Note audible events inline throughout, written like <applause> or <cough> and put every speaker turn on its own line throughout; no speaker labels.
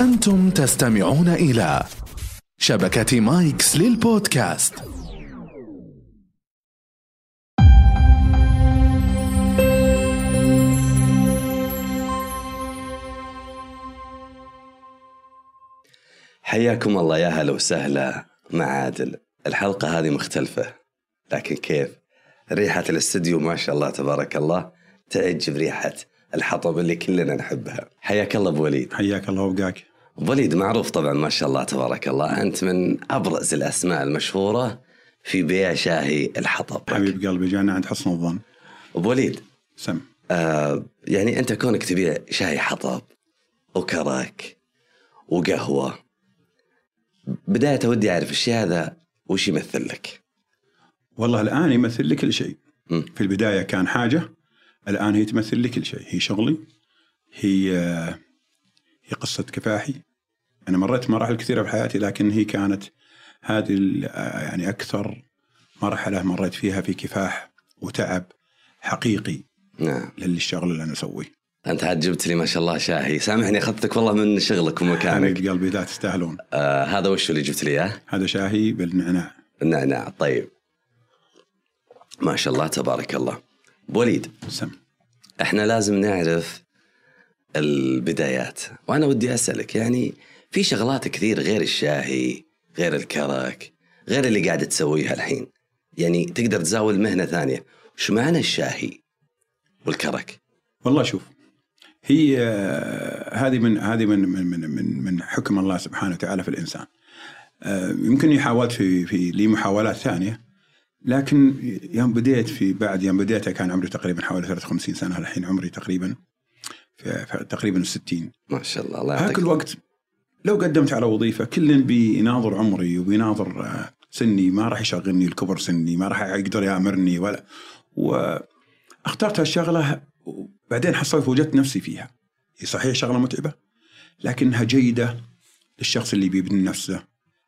أنتم تستمعون إلى شبكة مايكس للبودكاست
حياكم الله يا هلا وسهلا مع عادل الحلقة هذه مختلفة لكن كيف ريحة الاستديو ما شاء الله تبارك الله تعج بريحة الحطب اللي كلنا نحبها حياك الله ابو وليد
حياك الله وبقاك
أبو وليد معروف طبعا ما شاء الله تبارك الله أنت من أبرز الأسماء المشهورة في بيع شاهي الحطب
حبيب قلبي جانا عند حسن الظن
أبو وليد
سم
آه يعني أنت كونك تبيع شاي حطب وكراك وقهوة بداية ودي أعرف الشيء هذا وش يمثل لك
والله الان يمثل لي كل شيء
مم.
في البدايه كان حاجه الان هي تمثل لي كل شيء هي شغلي هي آه، هي قصه كفاحي انا مريت مراحل كثيره في حياتي لكن هي كانت هذه ال- آه، يعني اكثر مرحله مريت فيها في كفاح وتعب حقيقي
نعم
للشغل اللي انا اسويه
أنت عاد جبت لي ما شاء الله شاهي سامحني أخذتك والله من شغلك ومكانك
حبيب قلبي لا تستاهلون
آه هذا وش اللي جبت لي إياه
هذا شاهي بالنعناع
النعناع طيب ما شاء الله تبارك الله أبو وليد
سم
احنا لازم نعرف البدايات وانا ودي اسالك يعني في شغلات كثير غير الشاهي غير الكرك غير اللي قاعد تسويها الحين يعني تقدر تزاول مهنه ثانيه وش معنى الشاهي والكرك
والله شوف هي آه، هذه من هذه من من من من, من حكم الله سبحانه وتعالى في الانسان. آه، يمكن حاولت في في لي محاولات ثانيه لكن يوم بديت في بعد يوم بديتها كان عمري تقريبا حوالي 53 سنه الحين عمري تقريبا في في تقريبا 60
ما شاء الله الله
هاك
يعطيك
الوقت لو قدمت على وظيفه كل بيناظر عمري وبيناظر آه، سني ما راح يشغلني الكبر سني ما راح يقدر يامرني ولا واخترت هالشغله وبعدين حصلت وجدت نفسي فيها هي صحيح شغله متعبه لكنها جيده للشخص اللي بيبني نفسه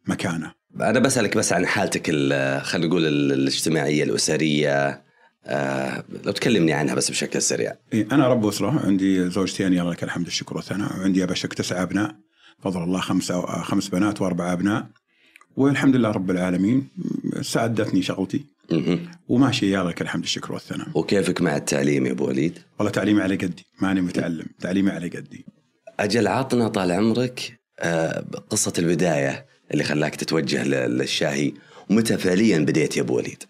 مكانه
انا بسالك بس عن حالتك ال- خلينا نقول ال- الاجتماعيه الاسريه آه لو تكلمني عنها بس بشكل سريع
إيه، انا رب اسره عندي زوجتين يلا لك الحمد الشكر والثناء وعندي ابشك تسع ابناء فضل الله خمسه آه، خمس بنات واربع ابناء والحمد لله رب العالمين م- ساعدتني شغلتي
مهم.
وماشي يا لك الحمد الشكر والثناء
وكيفك مع التعليم يا ابو وليد
والله تعليمي على قدي ماني متعلم تعليمي على قدي
اجل عطنا طال عمرك آه، قصه البدايه اللي خلاك تتوجه ل- للشاهي ومتى فعليا بديت يا ابو وليد؟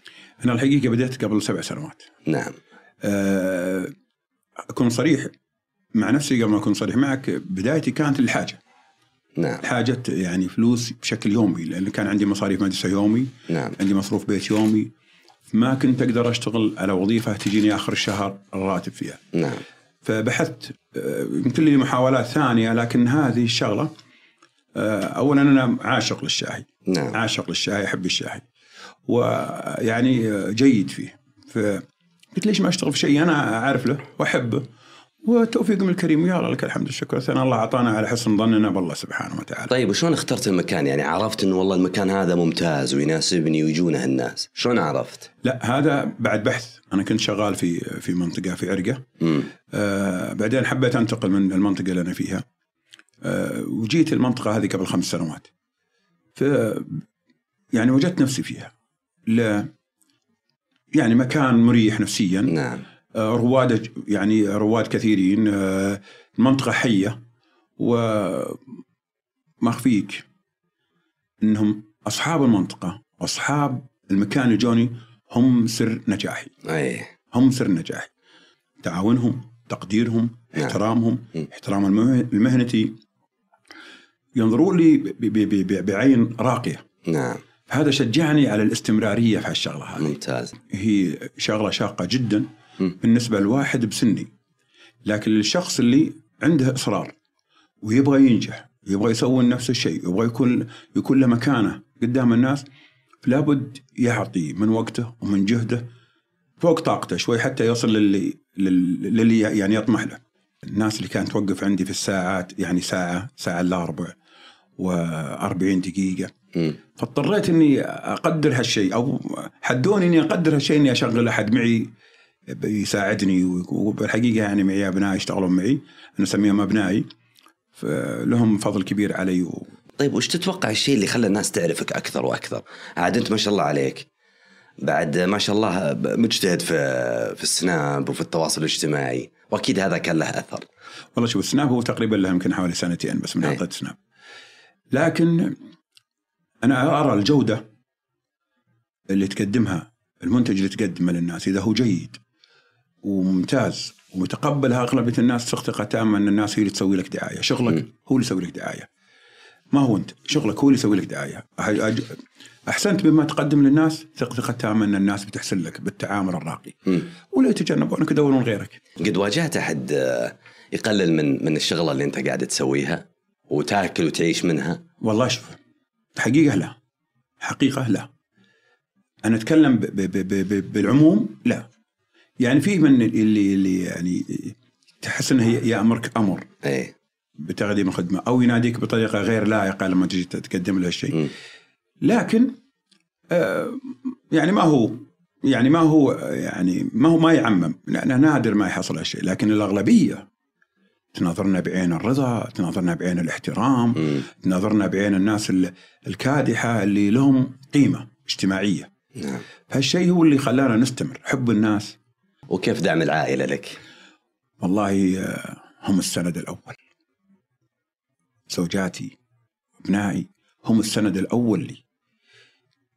انا الحقيقه بديت قبل سبع سنوات
نعم
أه، اكون صريح مع نفسي قبل ما اكون صريح معك بدايتي كانت الحاجه
نعم
حاجه يعني فلوس بشكل يومي لان كان عندي مصاريف مدرسه يومي
نعم
عندي مصروف بيت يومي ما كنت اقدر اشتغل على وظيفه تجيني اخر الشهر الراتب فيها
نعم
فبحثت آه، يمكن لي محاولات ثانيه لكن هذه الشغله آه، اولا انا عاشق للشاهي
نعم
عاشق للشاهي احب الشاهي ويعني جيد فيه فقلت ليش ما اشتغل في شيء انا اعرف له واحبه وتوفيق من الكريم يا الله لك الحمد والشكر والثناء الله اعطانا على حسن ظننا بالله سبحانه وتعالى
طيب وشلون اخترت المكان يعني عرفت انه والله المكان هذا ممتاز ويناسبني ويجونه الناس شلون عرفت
لا هذا بعد بحث انا كنت شغال في في منطقه في عرقه
مم.
آه بعدين حبيت انتقل من المنطقه اللي انا فيها آه وجيت المنطقه هذه قبل خمس سنوات ف يعني وجدت نفسي فيها لا يعني مكان مريح نفسيا
نعم
آه، رواده ج- يعني رواد كثيرين آه، المنطقه حيه وما اخفيك انهم اصحاب المنطقه اصحاب المكان اللي جوني هم سر نجاحي
اي
هم سر نجاحي تعاونهم تقديرهم
نعم.
احترامهم
مم.
احترام المه- المهنتي ينظرون لي ب- ب- ب- ب- بعين راقيه
نعم
هذا شجعني على الاستمراريه في هالشغله هذه
ممتاز
هي شغله شاقه جدا
م.
بالنسبه لواحد بسني لكن للشخص اللي عنده اصرار ويبغى ينجح يبغى يسوي نفس الشيء يبغى يكون يكون له مكانه قدام الناس لابد يعطي من وقته ومن جهده فوق طاقته شوي حتى يصل للي لل- للي يعني يطمح له الناس اللي كانت توقف عندي في الساعات يعني ساعه ساعه الا ربع و40 دقيقه
مم.
فاضطريت اني اقدر هالشيء او حدوني اني اقدر هالشيء اني اشغل احد معي يساعدني وبالحقيقه يعني معي ابناء يشتغلون معي انا اسميهم ابنائي فلهم فضل كبير علي و...
طيب وش تتوقع الشيء اللي خلى الناس تعرفك اكثر واكثر؟ عاد انت ما شاء الله عليك بعد ما شاء الله ب- مجتهد في في السناب وفي التواصل الاجتماعي واكيد هذا كان له اثر
والله شوف السناب هو تقريبا له يمكن حوالي سنتين بس من
أي.
حطيت سناب لكن انا ارى الجوده اللي تقدمها المنتج اللي تقدمه للناس اذا هو جيد وممتاز ومتقبلها اغلبيه الناس ثقه ثقه تامه ان الناس هي اللي تسوي لك دعايه، شغلك
مم.
هو اللي يسوي لك دعايه. ما هو انت، شغلك هو اللي يسوي لك دعايه. أح- أج- احسنت بما تقدم للناس ثقه ثقه تامه ان الناس بتحسن لك بالتعامل الراقي.
مم.
ولا يتجنبونك يدورون غيرك.
قد واجهت احد آه، يقلل من من الشغله اللي انت قاعد تسويها وتاكل وتعيش منها
والله شوف حقيقة لا حقيقة لا أنا أتكلم ب ب ب ب ب بالعموم لا يعني في من اللي اللي يعني تحس أنه ي- يأمرك أمر
ايه
بتقديم الخدمة أو يناديك بطريقة غير لائقة لما تجي تقدم له الشيء
مم.
لكن آه يعني ما هو يعني ما هو يعني ما هو ما يعمم لأنه نادر ما يحصل هالشيء لكن الأغلبية تناظرنا بعين الرضا تناظرنا بعين الاحترام
مم.
نظرنا بعين الناس ال- الكادحه اللي لهم قيمه اجتماعيه
نعم
فهالشيء هو اللي خلانا نستمر حب الناس
وكيف دعم العائله لك؟
والله آه، هم السند الاول زوجاتي ابنائي هم السند الاول لي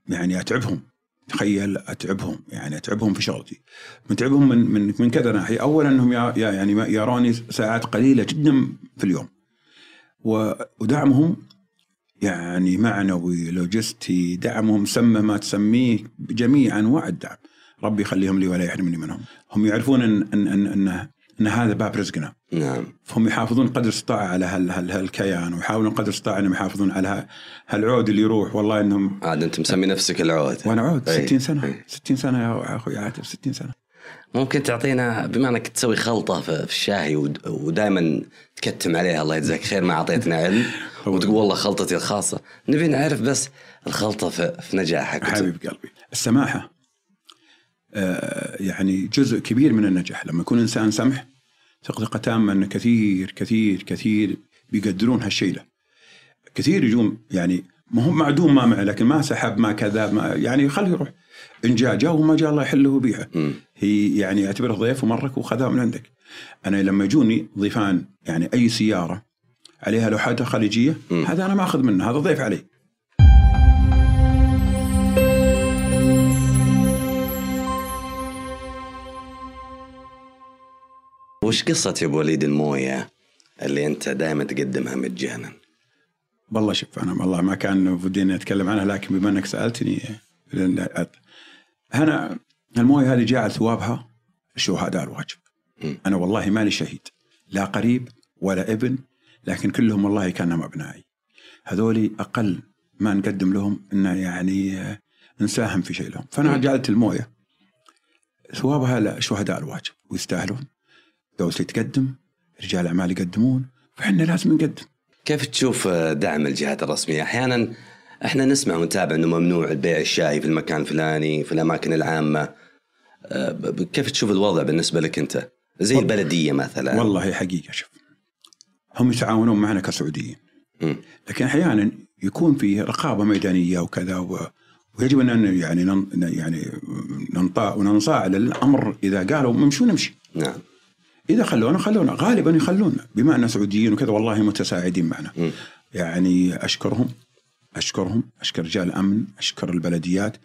يعني اتعبهم تخيل اتعبهم يعني اتعبهم في شغلتي متعبهم من من من كذا ناحيه اولا انهم يا يا- يعني ما- يروني ساعات قليله جدا في اليوم و- ودعمهم يعني معنوي لوجستي دعمهم سمى ما تسميه بجميع انواع الدعم ربي يخليهم لي ولا يحرمني منهم هم يعرفون ان ان ان ان, إن هذا باب رزقنا
نعم
فهم يحافظون قدر استطاعه على هال هال هالكيان ويحاولون قدر استطاعه انهم يحافظون على ها- هالعود اللي يروح والله انهم
عاد انت مسمي نفسك العود إيه.
وانا عود
أي.
60 سنه
أي.
60 سنه يا اخوي عاتب 60 سنه
ممكن تعطينا بما انك تسوي خلطه في في الشاي ودائما تكتم عليها الله يجزاك خير ما اعطيتنا علم
<laughs>
وتقول والله خلطتي الخاصه نبي نعرف بس الخلطه في, في نجاحك
حبيب قلبي السماحه آه يعني جزء كبير من النجاح لما يكون انسان سمح ثقه تامه ان كثير كثير كثير بيقدرون هالشيء له كثير يجون يعني ما هو معدوم ما معه لكن ما سحب ما كذا ما يعني خليه يروح ان جاء جاء وما جاء الله يحله ويبيعه
مم.
هي يعني اعتبره ضيف ومرك وخذاه من عندك انا لما يجوني ضيفان يعني اي سياره عليها لوحاتها خليجيه
مم.
هذا انا ما اخذ منه هذا ضيف علي
وش قصه يا ابو وليد المويه اللي انت دائما تقدمها مجانا
والله شوف انا والله ما كان ودي اني اتكلم عنها لكن بما انك سالتني لأن أت- انا المويه هذه جاء ثوابها الشهداء الواجب
مم.
انا والله مالي شهيد لا قريب ولا ابن لكن كلهم والله كانهم ابنائي هذولي اقل ما نقدم لهم ان يعني آه، نساهم في شيء لهم فانا
مم.
جعلت المويه ثوابها لشهداء الواجب ويستاهلون دولتي تقدم رجال اعمال يقدمون فاحنا لازم نقدم
كيف تشوف دعم الجهات الرسميه احيانا احنا نسمع ونتابع انه ممنوع بيع الشاي في المكان الفلاني في الاماكن العامه أه، ب- ب- كيف تشوف الوضع بالنسبه لك انت زي
والله-
البلديه مثلا
والله حقيقه شوف هم يتعاونون معنا كسعوديين
مم.
لكن احيانا يكون في رقابه ميدانيه وكذا و... ويجب ان يعني نن... يعني ننطاع وننصاع للامر اذا قالوا نمشي نمشي
نعم
اذا خلونا خلونا غالبا يخلونا بما ان سعوديين وكذا والله متساعدين معنا
مم.
يعني اشكرهم اشكرهم اشكر رجال الامن اشكر البلديات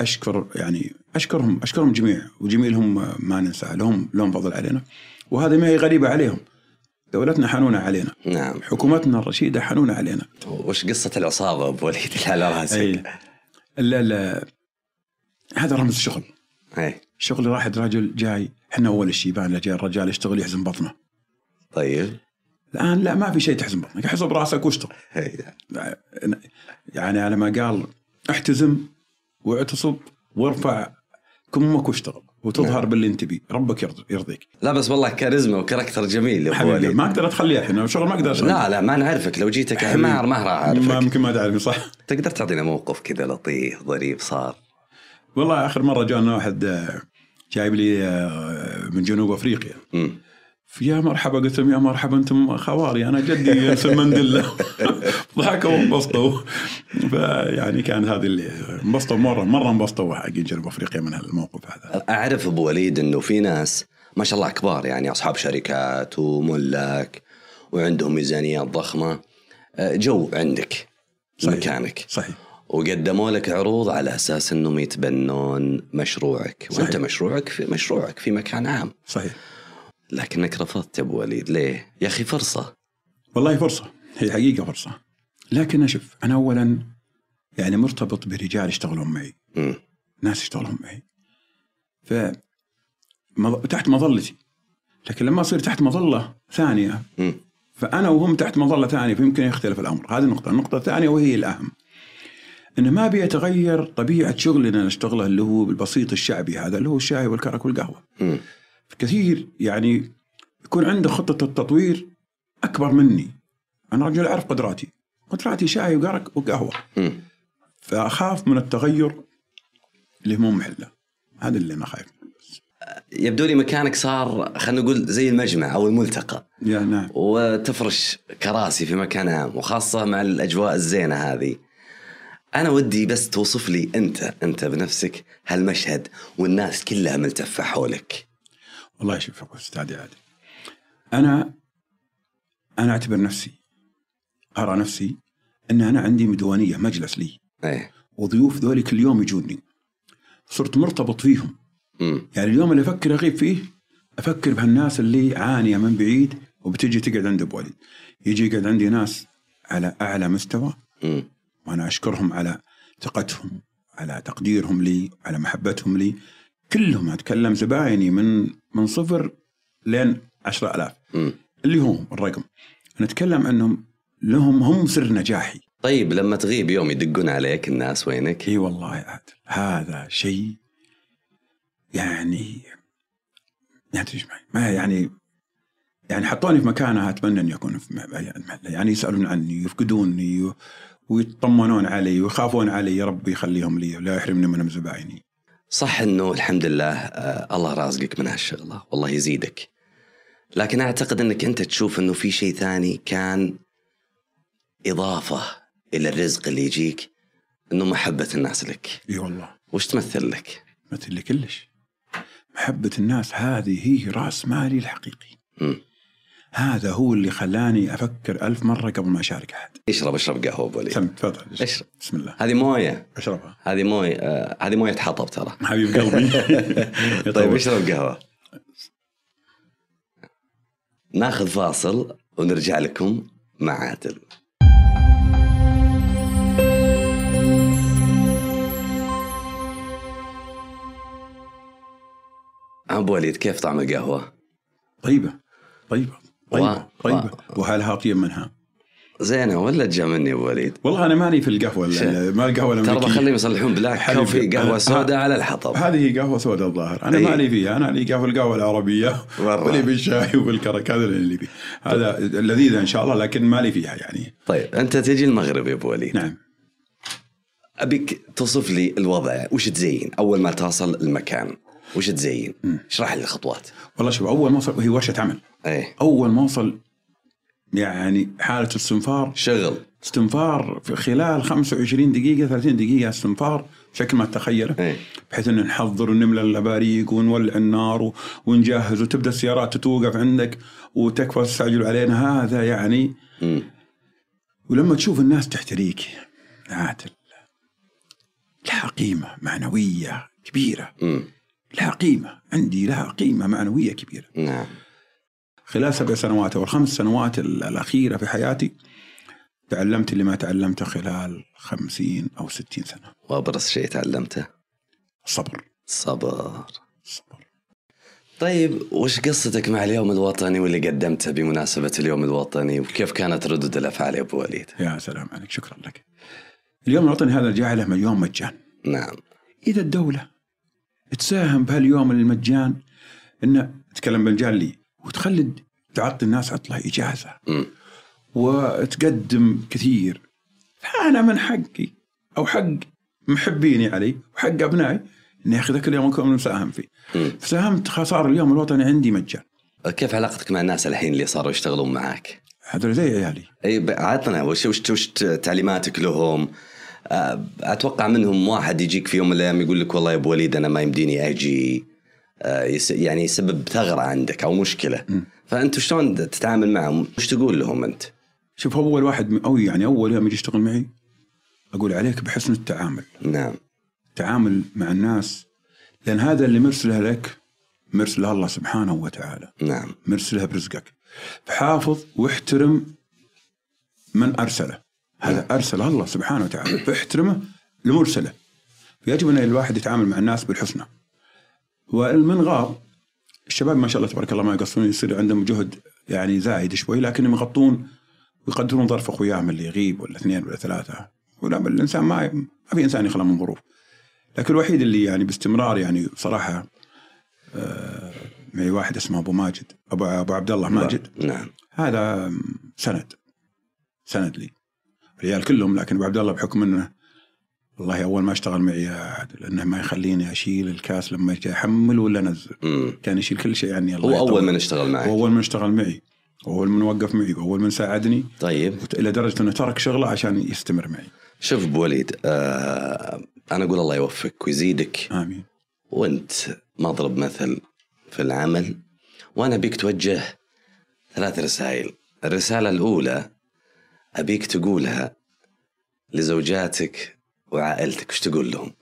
اشكر يعني اشكرهم اشكرهم جميع وجميلهم ما ننساه لهم لهم فضل علينا وهذه ما هي غريبه عليهم دولتنا حنونه علينا
نعم
حكومتنا الرشيده حنونه علينا
وش قصة العصابة أبو وليد <laughs> اللي على
أي.
راسك؟
لا لا هذا رمز شغل
أي.
شغل راحت رجل جاي احنا اول الشيبان اللي جاي الرجال يشتغل يحزن بطنه
طيب
الان لا ما في شيء تحزن بطنك احزن براسك واشتغل
أي.
يعني على ما قال احتزم واعتصب وارفع كمك واشتغل وتظهر
نعم.
باللي انت بيه ربك يرض- يرضيك
لا بس والله كاريزما وكاركتر جميل يا أبو
حبيبي
وليد
ما اقدر اتخليه الحين شغل ما اقدر أسويه.
لا لا ما نعرفك لو جيتك حمار ما راح
ما
أعرفك
يمكن ما تعرفني صح
تقدر تعطينا موقف كذا لطيف ظريف صار
والله اخر مره جانا واحد آه، جايب لي آه، من جنوب افريقيا
مم.
فيا مرحبا قلت لهم يا مرحبا انتم خواري انا جدي ينسون مندلا ضحكوا وانبسطوا فيعني كان هذه اللي انبسطوا مره مره انبسطوا حقين جنوب افريقيا من الموقف هذا
اعرف ابو وليد انه في ناس ما شاء الله كبار يعني اصحاب شركات وملاك وعندهم ميزانيات ضخمه آه، جو عندك
صحيح.
مكانك
صحيح
وقدموا لك عروض على اساس انهم يتبنون مشروعك
صحيح.
وانت مشروعك في مشروعك في مكان عام
صحيح
لكنك رفضت يا ابو وليد ليه يا اخي فرصه
والله فرصه هي حقيقه فرصه لكن اشوف انا اولا يعني مرتبط برجال يشتغلون معي
مم.
ناس يشتغلون معي ف مظ- تحت مظلتي لكن لما اصير تحت مظله ثانيه
مم.
فانا وهم تحت مظله ثانيه فيمكن يختلف الامر هذه نقطه النقطه الثانيه وهي الاهم انه ما بيتغير طبيعه شغلنا نشتغله اللي هو بالبسيط الشعبي هذا اللي هو الشاي والكرك والقهوه
مم.
كثير يعني يكون عنده خطه التطوير اكبر مني انا رجل اعرف قدراتي قدراتي شاي وقرك وقهوه
مم.
فاخاف من التغير اللي مو محله هذا اللي انا خايف منه.
يبدو لي مكانك صار خلينا نقول زي المجمع او الملتقى
يا نعم
وتفرش كراسي في مكان عام وخاصه مع الاجواء الزينه هذه انا ودي بس توصف لي انت انت بنفسك هالمشهد والناس كلها ملتفه حولك
والله شوف يا استاذ عادل انا انا اعتبر نفسي ارى نفسي ان انا عندي مديونيه مجلس لي
ايه
وضيوف ذولي كل يوم يجوني صرت مرتبط فيهم
مم.
يعني اليوم اللي افكر اغيب فيه افكر بهالناس اللي عانيه من بعيد وبتجي تقعد عند ابو وليد يجي يقعد عندي ناس على اعلى مستوى
مم.
وانا اشكرهم على ثقتهم على تقديرهم لي على محبتهم لي كلهم اتكلم زبايني من من صفر لين عشرة ألاف
مم.
اللي هم الرقم نتكلم انهم لهم هم سر نجاحي
طيب لما تغيب يوم يدقون عليك الناس وينك
اي والله يا عادل هذا شيء يعني يعني تدري إيش معي؟ ما يعني يعني حطوني في مكانه اتمنى اني اكون في م- يعني- يعني يسالون عني ويفقدوني و- ويطمنون علي ويخافون علي يا ربي يخليهم لي ولا يحرمني من زبايني
صح انه الحمد لله آه الله رازقك من هالشغله والله يزيدك لكن اعتقد انك انت تشوف انه في شيء ثاني كان اضافه الى الرزق اللي يجيك انه محبه الناس لك
اي والله
وش تمثل لك؟
مثل اللي كلش محبه الناس هذه هي راس مالي الحقيقي
مم.
هذا هو اللي خلاني افكر ألف مره قبل ما اشارك احد
اشرب اشرب قهوه ابو وليد
سم تفضل
اشرب
بسم الله
هذه مويه
اشربها
هذه مويه آه هذه مويه حطب ترى
حبيب <laughs> قلبي
طيب اشرب قهوه ناخذ فاصل ونرجع لكم مع عادل ابو وليد كيف طعم القهوه؟
طيبة طيبة طيبة
واو.
طيبة وهلها طيب منها
زينه ولا تجاملني ابو وليد؟
والله أنا ماني في القهوة ال-
شيء.
ما القهوة
ترى بخليهم
الأمريكية
يصلحون بلاك
حبيبي.
كوفي قهوه
أنا-
سوداء على الحطب
هذه قهوة سوداء الظاهر أنا
أي.
مالي فيها أنا لي قهوة القهوة العربية
إيه. <laughs> مرة.
واللي بالشاي وبالكرك هذا اللي بي هذا لذيذة إن شاء الله لكن مالي فيها يعني
طيب انت تجي المغرب يا ابو وليد
نعم
ابيك توصف لي الوضع وش تزين اول ما توصل المكان وش تزين اشرح لي الخطوات
والله شوف أول ما وصل هي ورشة عمل
ايه
أول ما وصل يعني حالة استنفار
شغل
استنفار في خلال 25 دقيقة 30 دقيقة استنفار بشكل ما تتخيله
إيه.
بحيث ان نحضر ونملى الاباريق ونولع النار و- ونجهز وتبدا السيارات تتوقف عندك وتكفى تستعجل علينا هذا يعني
مم.
ولما تشوف الناس تحتريك عادل لها قيمة معنوية كبيرة
مم.
لها قيمة عندي لها قيمة معنوية كبيرة
نعم
خلال سبع سنوات او الخمس سنوات ال- الاخيره في حياتي تعلمت اللي ما تعلمته خلال خمسين او ستين سنه
وابرز شيء تعلمته
الصبر
الصبر
الصبر
طيب وش قصتك مع اليوم الوطني واللي قدمته بمناسبة اليوم الوطني وكيف كانت ردود الأفعال يا أبو وليد؟
يا سلام عليك شكرا لك اليوم الوطني هذا جعله مليون مجان
نعم
اذا الدوله تساهم بهاليوم المجان انه تتكلم بالمجان لي وتخلي تعطي الناس عطله اجازه
مم.
وتقدم كثير فأنا من حقي أو حق محبيني علي وحق أبنائي أني أخذ كل يوم أكون مساهم فيه
مم.
ساهمت خسارة اليوم الوطني عندي مجان
كيف علاقتك مع الناس الحين اللي صاروا يشتغلون معاك؟
هذول زي عيالي
اي ب- عطنا وش وش, وش تعليماتك لهم؟ آه، اتوقع منهم واحد يجيك في يوم من الايام يقول لك والله يا ابو وليد انا ما يمديني اجي آه، يس- يعني يسبب ثغره عندك او مشكله
مم.
فانت شلون تتعامل معهم؟ وش تقول لهم انت؟
شوف اول واحد من- او يعني اول يوم يجي يشتغل معي اقول عليك بحسن التعامل
نعم
التعامل مع الناس لان هذا اللي مرسله لك مرسله الله سبحانه وتعالى
نعم
مرسلها برزقك فحافظ واحترم من ارسله هذا ارسله الله سبحانه وتعالى فاحترمه لمرسله فيجب ان الواحد يتعامل مع الناس بالحسنى والمن غاب الشباب ما شاء الله تبارك الله ما يقصرون يصير عندهم جهد يعني زايد شوي لكنهم يغطون ويقدرون ظرف اخوياهم اللي يغيب ولا اثنين ولا ثلاثه ولا الانسان ما ما في انسان يخلى من ظروف لكن الوحيد اللي يعني باستمرار يعني بصراحه آه، معي واحد اسمه ابو ماجد ابو ابو عبد الله ماجد
نعم
هذا سند سند لي العيال كلهم لكن ابو عبد الله بحكم انه والله اول ما اشتغل معي عادل انه ما يخليني اشيل الكاس لما أجي احمل ولا انزل
مم.
كان يشيل كل شيء عني الله
هو اول
يطول.
من اشتغل
هو
معك
اول من اشتغل معي هو اول من وقف معي هو اول من ساعدني
طيب
الى درجه انه ترك شغله عشان يستمر معي
شوف ابو وليد آه انا اقول الله يوفقك ويزيدك
امين
وانت مضرب مثل في العمل وانا بيك توجه ثلاث رسائل الرساله الاولى ابيك تقولها لزوجاتك وعائلتك وش تقول لهم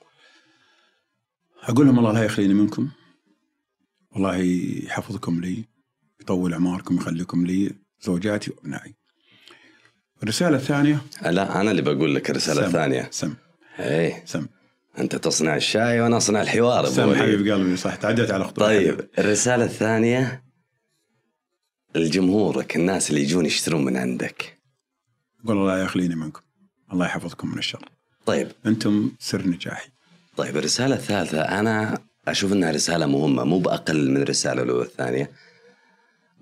اقول لهم الله لا يخليني منكم والله يحفظكم لي يطول اعماركم يخليكم لي زوجاتي وابنائي الرساله الثانيه
لا انا اللي بقول لك الرساله
سم.
الثانيه
سم
ايه
سم
انت تصنع الشاي وانا اصنع الحوار أبو
سم
وليد.
حبيب قلبي صح تعديت على خطوه
إيه؟ طيب الرسالة الثانية لجمهورك الناس اللي يجون يشترون من عندك
اقول الله لا يخليني منكم الله يحفظكم من الشر
طيب
انتم سر نجاحي
طيب الرسالة الثالثة أنا أشوف أنها رسالة مهمة مو بأقل من الرسالة الأولى والثانية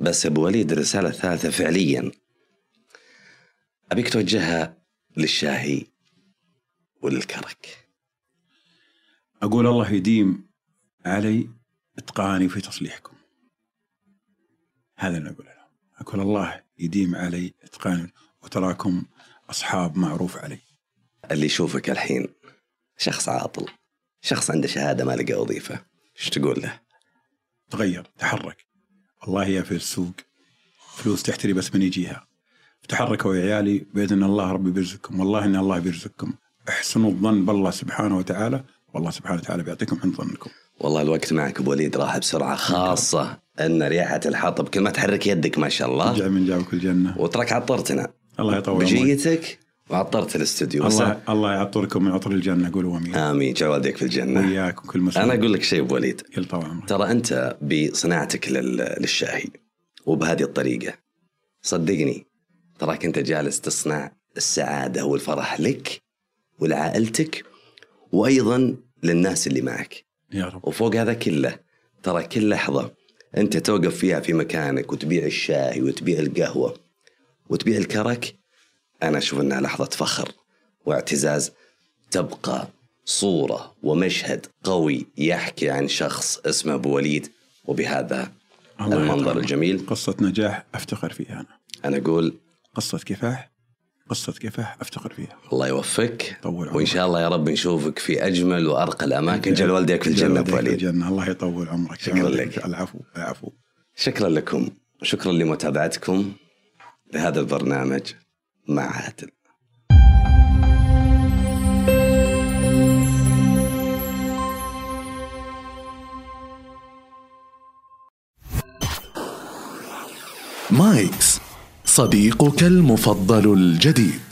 بس أبو وليد الرسالة الثالثة فعليا أبيك توجهها للشاهي وللكرك
اقول الله يديم علي اتقاني في تصليحكم هذا اللي اقوله لهم اقول الله يديم علي اتقاني وتراكم اصحاب معروف علي
اللي يشوفك الحين شخص عاطل شخص عنده شهادة ما لقى وظيفة ايش تقول له؟
تغير تحرك والله يا في السوق فلوس تحتري بس من يجيها تحركوا يا عيالي باذن الله ربي بيرزقكم والله ان الله بيرزقكم احسنوا الظن بالله سبحانه وتعالى والله سبحانه وتعالى بيعطيكم عند ظنكم
والله الوقت معك ابو وليد راح بسرعه خاصه ان رياحه الحطب كل ما تحرك يدك ما شاء الله
جاء من جابك الجنه
وترك عطرتنا
الله يطول عمرك
بجيتك وعطرت الاستوديو بس
الله الله يعطركم من عطر الجنه قولوا امين
امين جوالدك في الجنه
وياك وكل مسلم
انا اقول لك شيء ابو وليد
يلا طول عمرك
ترى انت بصناعتك لل- للشاهي وبهذه الطريقه صدقني تراك انت جالس تصنع السعاده والفرح لك ولعائلتك وايضا للناس اللي معك
يا رب
وفوق هذا كله ترى كل لحظة أنت توقف فيها في مكانك وتبيع الشاي وتبيع القهوة وتبيع الكرك أنا أشوف أنها لحظة فخر واعتزاز تبقى صورة ومشهد قوي يحكي عن شخص اسمه أبو وليد وبهذا
الله يطول
المنظر
عمرك.
الجميل
قصه نجاح افتخر فيها انا
أنا أقول
قصه كفاح قصه كفاح افتخر فيها
الله يوفقك
طول عمرك
وإن شاء الله يا رب نشوفك في أجمل وأرقى الأماكن جل والديك في الجنة أبو
جل والديك في
وليد
الجنه الله يطول عمرك
شكراً لك.
العفو العفو
شكرا لكم شكرا لمتابعتكم لهذا البرنامج مع عادل
مايكس صديقك المفضل الجديد